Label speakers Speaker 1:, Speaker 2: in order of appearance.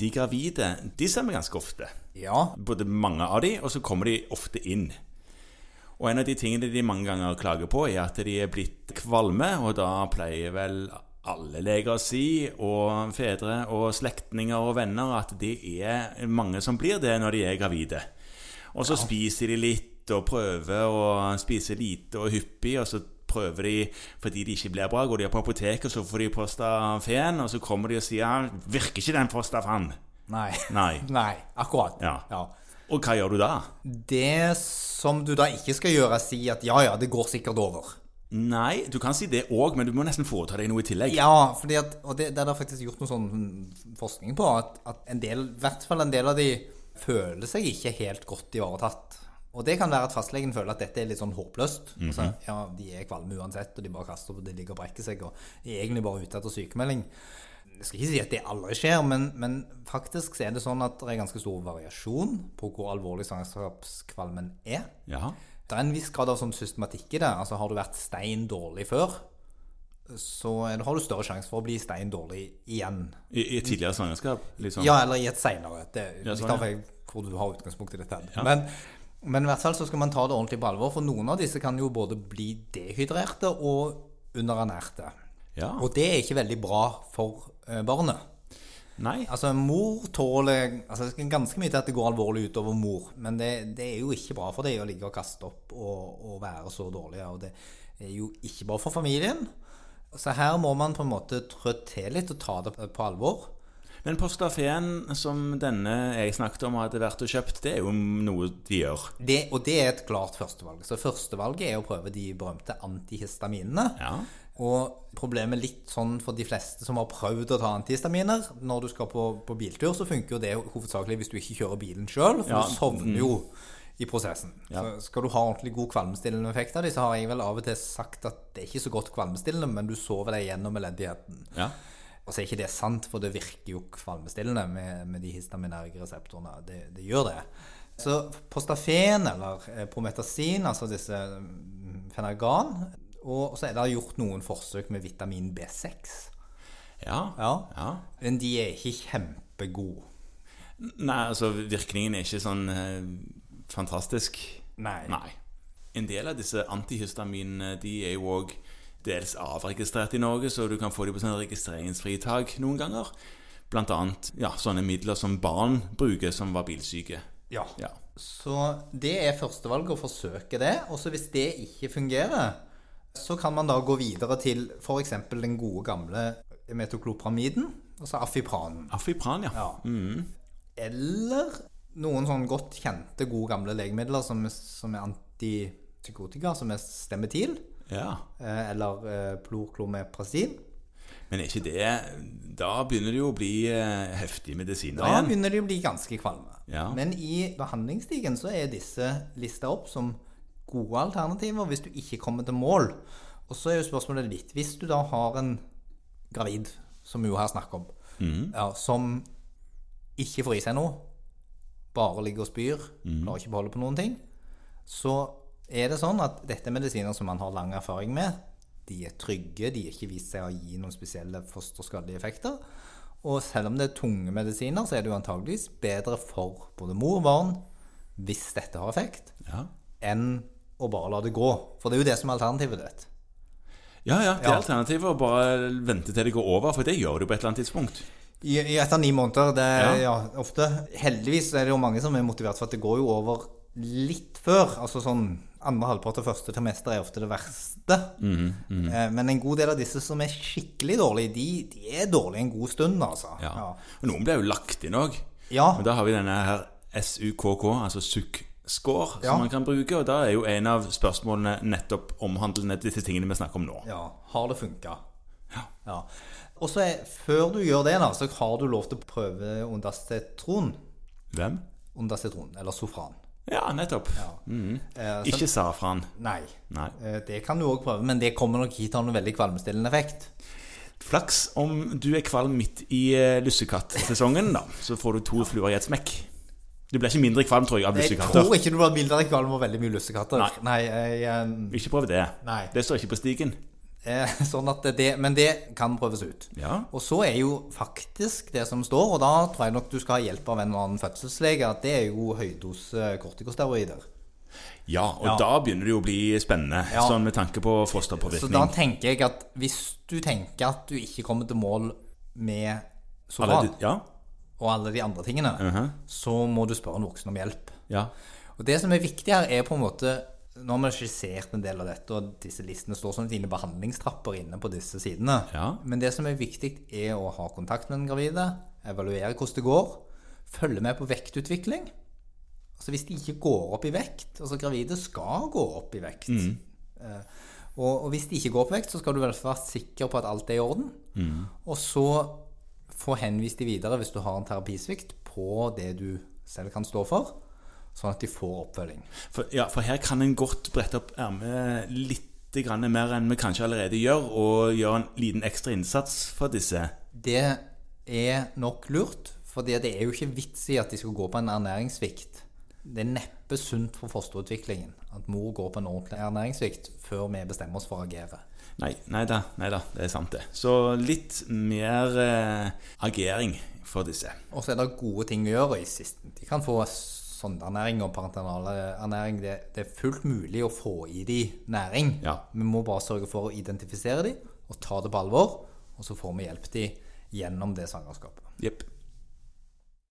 Speaker 1: de gravide, de ser vi ganske ofte.
Speaker 2: Ja.
Speaker 1: Både mange av de, og så kommer de ofte inn. Og en av de tingene de mange ganger klager på, er at de er blitt kvalme, og da pleier vel alle leger å si, og fedre og slektninger og venner, at det er mange som blir det når de er gravide. Og så spiser de litt og prøver å spise lite og hyppig, og så prøver de fordi de ikke blir bra. Går de på apoteket, så får de Prostafen, og så kommer de og sier 'Virker ikke den Prostafan?'
Speaker 2: Nei.
Speaker 1: Nei.
Speaker 2: Nei, akkurat.
Speaker 1: Ja. Og hva gjør du da?
Speaker 2: Det som du da ikke skal gjøre, er å si at ja, ja, det går sikkert over.
Speaker 1: Nei, du kan si det òg, men du må nesten foreta deg noe i tillegg.
Speaker 2: Ja, fordi at, og det, det er da faktisk gjort noe sånn forskning på at, at en del, i hvert fall en del av de føler seg ikke helt godt ivaretatt. Og det kan være at fastlegen føler at dette er litt sånn håpløst. altså, ja, De er kvalme uansett, og de bare kaster på det, ligger og brekker seg, og er egentlig bare ute etter sykemelding. Jeg skal ikke si at det aldri skjer, men, men faktisk så er det sånn at det er ganske stor variasjon på hvor alvorlig svangerskapskvalmen er.
Speaker 1: Ja.
Speaker 2: Det er en viss grad av sånn systematikk i det. Altså, har du vært stein dårlig før, så er- har du større sjanse for å bli stein dårlig igjen.
Speaker 1: I, i et tidligere svangerskap? Litt sånn.
Speaker 2: Ja, eller i et seinere. Det er
Speaker 1: Ja,
Speaker 2: litt
Speaker 1: sånn, ja.
Speaker 2: avhengig av hvor du har utgangspunkt i dette. her. Men, men i hvert fall så skal man ta det ordentlig på alvor, for noen av disse kan jo både bli dehydrerte og underernærte.
Speaker 1: Ja.
Speaker 2: Og det er ikke veldig bra for eh, barnet.
Speaker 1: Nei.
Speaker 2: Altså, mor tåler altså, Det skal ganske mye til at det går alvorlig utover mor, men det, det er jo ikke bra for deg å ligge og kaste opp og, og være så dårlig. Og det er jo ikke bra for familien. Så her må man på en måte trå til litt og ta det på alvor.
Speaker 1: Men Prostafen, som denne jeg snakket om hadde vært og kjøpt, det er jo noe de gjør.
Speaker 2: Det, og det er et klart førstevalg. Så førstevalget er å prøve de berømte antihistaminene.
Speaker 1: Ja.
Speaker 2: Og problemet litt sånn for de fleste som har prøvd å ta antihistaminer Når du skal på, på biltur, så funker jo det hovedsakelig hvis du ikke kjører bilen sjøl, for
Speaker 1: Ja,
Speaker 2: du sovner jo i prosessen. Så skal du ha ordentlig god kvalmestillende effekt av de, så har jeg vel av og til sagt at det er ikke så godt kvalmestillende, men du sover deg gjennom elendigheten.
Speaker 1: ja.
Speaker 2: Og så er ikke det sant, for det virker jo kvalmestillende med, med de histaminerge reseptorene. Det, det gjør det. Så postafen, eller eh, prometasin, altså disse mm, fenergan Og så er det gjort noen forsøk med vitamin B6.
Speaker 1: Ja.
Speaker 2: Ja.
Speaker 1: Ja.
Speaker 2: Men de er ikke kjempegode.
Speaker 1: Nei, altså virkningen er ikke sånn eh, fantastisk.
Speaker 2: Nei.
Speaker 1: Nei. En del av disse antihistaminene de er jo òg dels avregistrert i Norge, så du kan få dem på sånn registreringsfritak noen ganger. Blant annet ja, sånne midler som barn bruker som var bilsyke.
Speaker 2: Ja.
Speaker 1: Ja.
Speaker 2: Så det er førstevalget å forsøke det. Og så hvis det ikke fungerer, så kan man da gå videre til f.eks. den gode gamle metokloparamiden, altså afipranen.
Speaker 1: Afipran, ja.
Speaker 2: Ja. Eller noen sånn godt kjente, gode gamle legemidler som, som er antipsykotika, som er stemetil,
Speaker 1: ja.
Speaker 2: eh, eller eh, plorklomeprasin.
Speaker 1: Men er ikke det Da begynner det jo å bli eh, heftig medisiner
Speaker 2: Da
Speaker 1: igjen.
Speaker 2: begynner de å bli ganske kvalme.
Speaker 1: Ja.
Speaker 2: Men i behandlingsstigen så er disse lista opp som gode alternativer hvis du ikke kommer til mål. Og så er jo spørsmålet litt Hvis du da har en gravid, som vi jo her snakker om, ja, som ikke får i seg noe, bare ligger og spyr, klarer ikke å beholde på noen ting, så er det sånn at dette er medisiner som man har lang erfaring med. De er trygge, de har ikke vist seg å gi noen spesielle fosterskadelige effekter. Og selv om det er tunge medisiner, så er det jo antageligvis bedre for både mor og barn, hvis dette har effekt,
Speaker 1: Ja.
Speaker 2: enn å bare la det gå. For det er jo det som er alternativet ditt.
Speaker 1: ja, ja. Det er alternativet å bare vente til det går over, for det gjør du på et eller annet tidspunkt.
Speaker 2: I, i etter ni måneder, det er ja.
Speaker 1: Ja.
Speaker 2: ofte. Heldigvis er det jo mange som er motivert for at det går jo over litt før. Altså sånn andre halvpart og første trimester er ofte det verste. Eh, Men en god del av disse som er skikkelig dårlige, de, de er dårlige en god stund, altså.
Speaker 1: Ja.
Speaker 2: Ja.
Speaker 1: Og noen blir jo lagt inn òg.
Speaker 2: Ja.
Speaker 1: Men da har vi denne her SUKK, altså sukk-score,
Speaker 2: Ja.
Speaker 1: som man kan bruke. Og da er jo en av spørsmålene nettopp omhandlende disse tingene vi snakker om nå.
Speaker 2: ja. Har det funka? Ja. Og så er, før du gjør det, da, så har du lov til å prøve ondastetron.
Speaker 1: Hvem?
Speaker 2: Ondastetron, eller sofran.
Speaker 1: Ja, nettopp.
Speaker 2: Eh, så,
Speaker 1: Ikke safran.
Speaker 2: nei.
Speaker 1: Nei.
Speaker 2: Eh, Det kan du òg prøve, men det kommer nok ikke til å ha noen veldig kvalmestillende effekt.
Speaker 1: Flaks om du er kvalm midt i eh, lussekattsesongen, da. Så får du to fluer i et smekk. Du blir ikke mindre kvalm, tror jeg, av
Speaker 2: Jeg
Speaker 1: lussekatter.
Speaker 2: tror ikke du blir bildet av deg kvalm og veldig mye lussekatter. Nei. jeg, eh,
Speaker 1: Ikke prøv det.
Speaker 2: Nei.
Speaker 1: Det står ikke på stigen.
Speaker 2: Eh, sånn at det, men det kan prøves ut.
Speaker 1: Ja.
Speaker 2: Og så er jo faktisk det som står, og da tror jeg nok du skal ha hjelp av en eller annen fødselslege, at det er jo høydose kortikosteroider.
Speaker 1: Ja, og
Speaker 2: Ja.
Speaker 1: da begynner det jo å bli spennende,
Speaker 2: Ja.
Speaker 1: sånn med tanke på
Speaker 2: Så da
Speaker 1: fosterpåvirkning.
Speaker 2: tenker jeg at hvis du tenker at du ikke kommer til mål med
Speaker 1: Alle
Speaker 2: Soral
Speaker 1: de- Uh-huh. Ja,
Speaker 2: og alle de andre tingene, så må du spørre en voksen om hjelp.
Speaker 1: ja.
Speaker 2: Og det som er viktig her, er på en måte Nå har vi skissert en del av dette, og disse listene står som dine behandlingstrapper inne på disse sidene.
Speaker 1: Ja.
Speaker 2: Men det som er viktig, er å ha kontakt med den gravide, evaluere hvordan det går, følge med på vektutvikling. Altså hvis de ikke går opp i vekt Altså gravide skal gå opp i vekt. Eh, Og, og hvis de ikke går opp i vekt, så skal du i hvert fall være sikker på at alt er i orden. Og så få henvist de videre hvis du har en terapisvikt på det du selv kan stå for, sånn at de får oppfølging.
Speaker 1: For, ja, for her kan en godt brette opp ermet litt grann mer enn vi kanskje allerede gjør, og gjøre en liten ekstra innsats for disse.
Speaker 2: Det er nok lurt, for det er jo ikke vits i at de skal gå på en ernæringssvikt. Det er neppe sunt for fosterutviklingen at mor går på en ordentlig ernæringssvikt før vi bestemmer oss for å agere.
Speaker 1: Nei, nei da, nei da, det er sant det. Så litt mer eh, agering for disse.
Speaker 2: Og så er det gode ting å gjøre. i sist. De kan få sondeernæring og parentanalernæring. Det, det er fullt mulig å få i de næring.
Speaker 1: Ja.
Speaker 2: Vi må bare sørge for å identifisere de og ta det på alvor. Og så får vi hjelp de gjennom det svangerskapet.
Speaker 1: Jepp.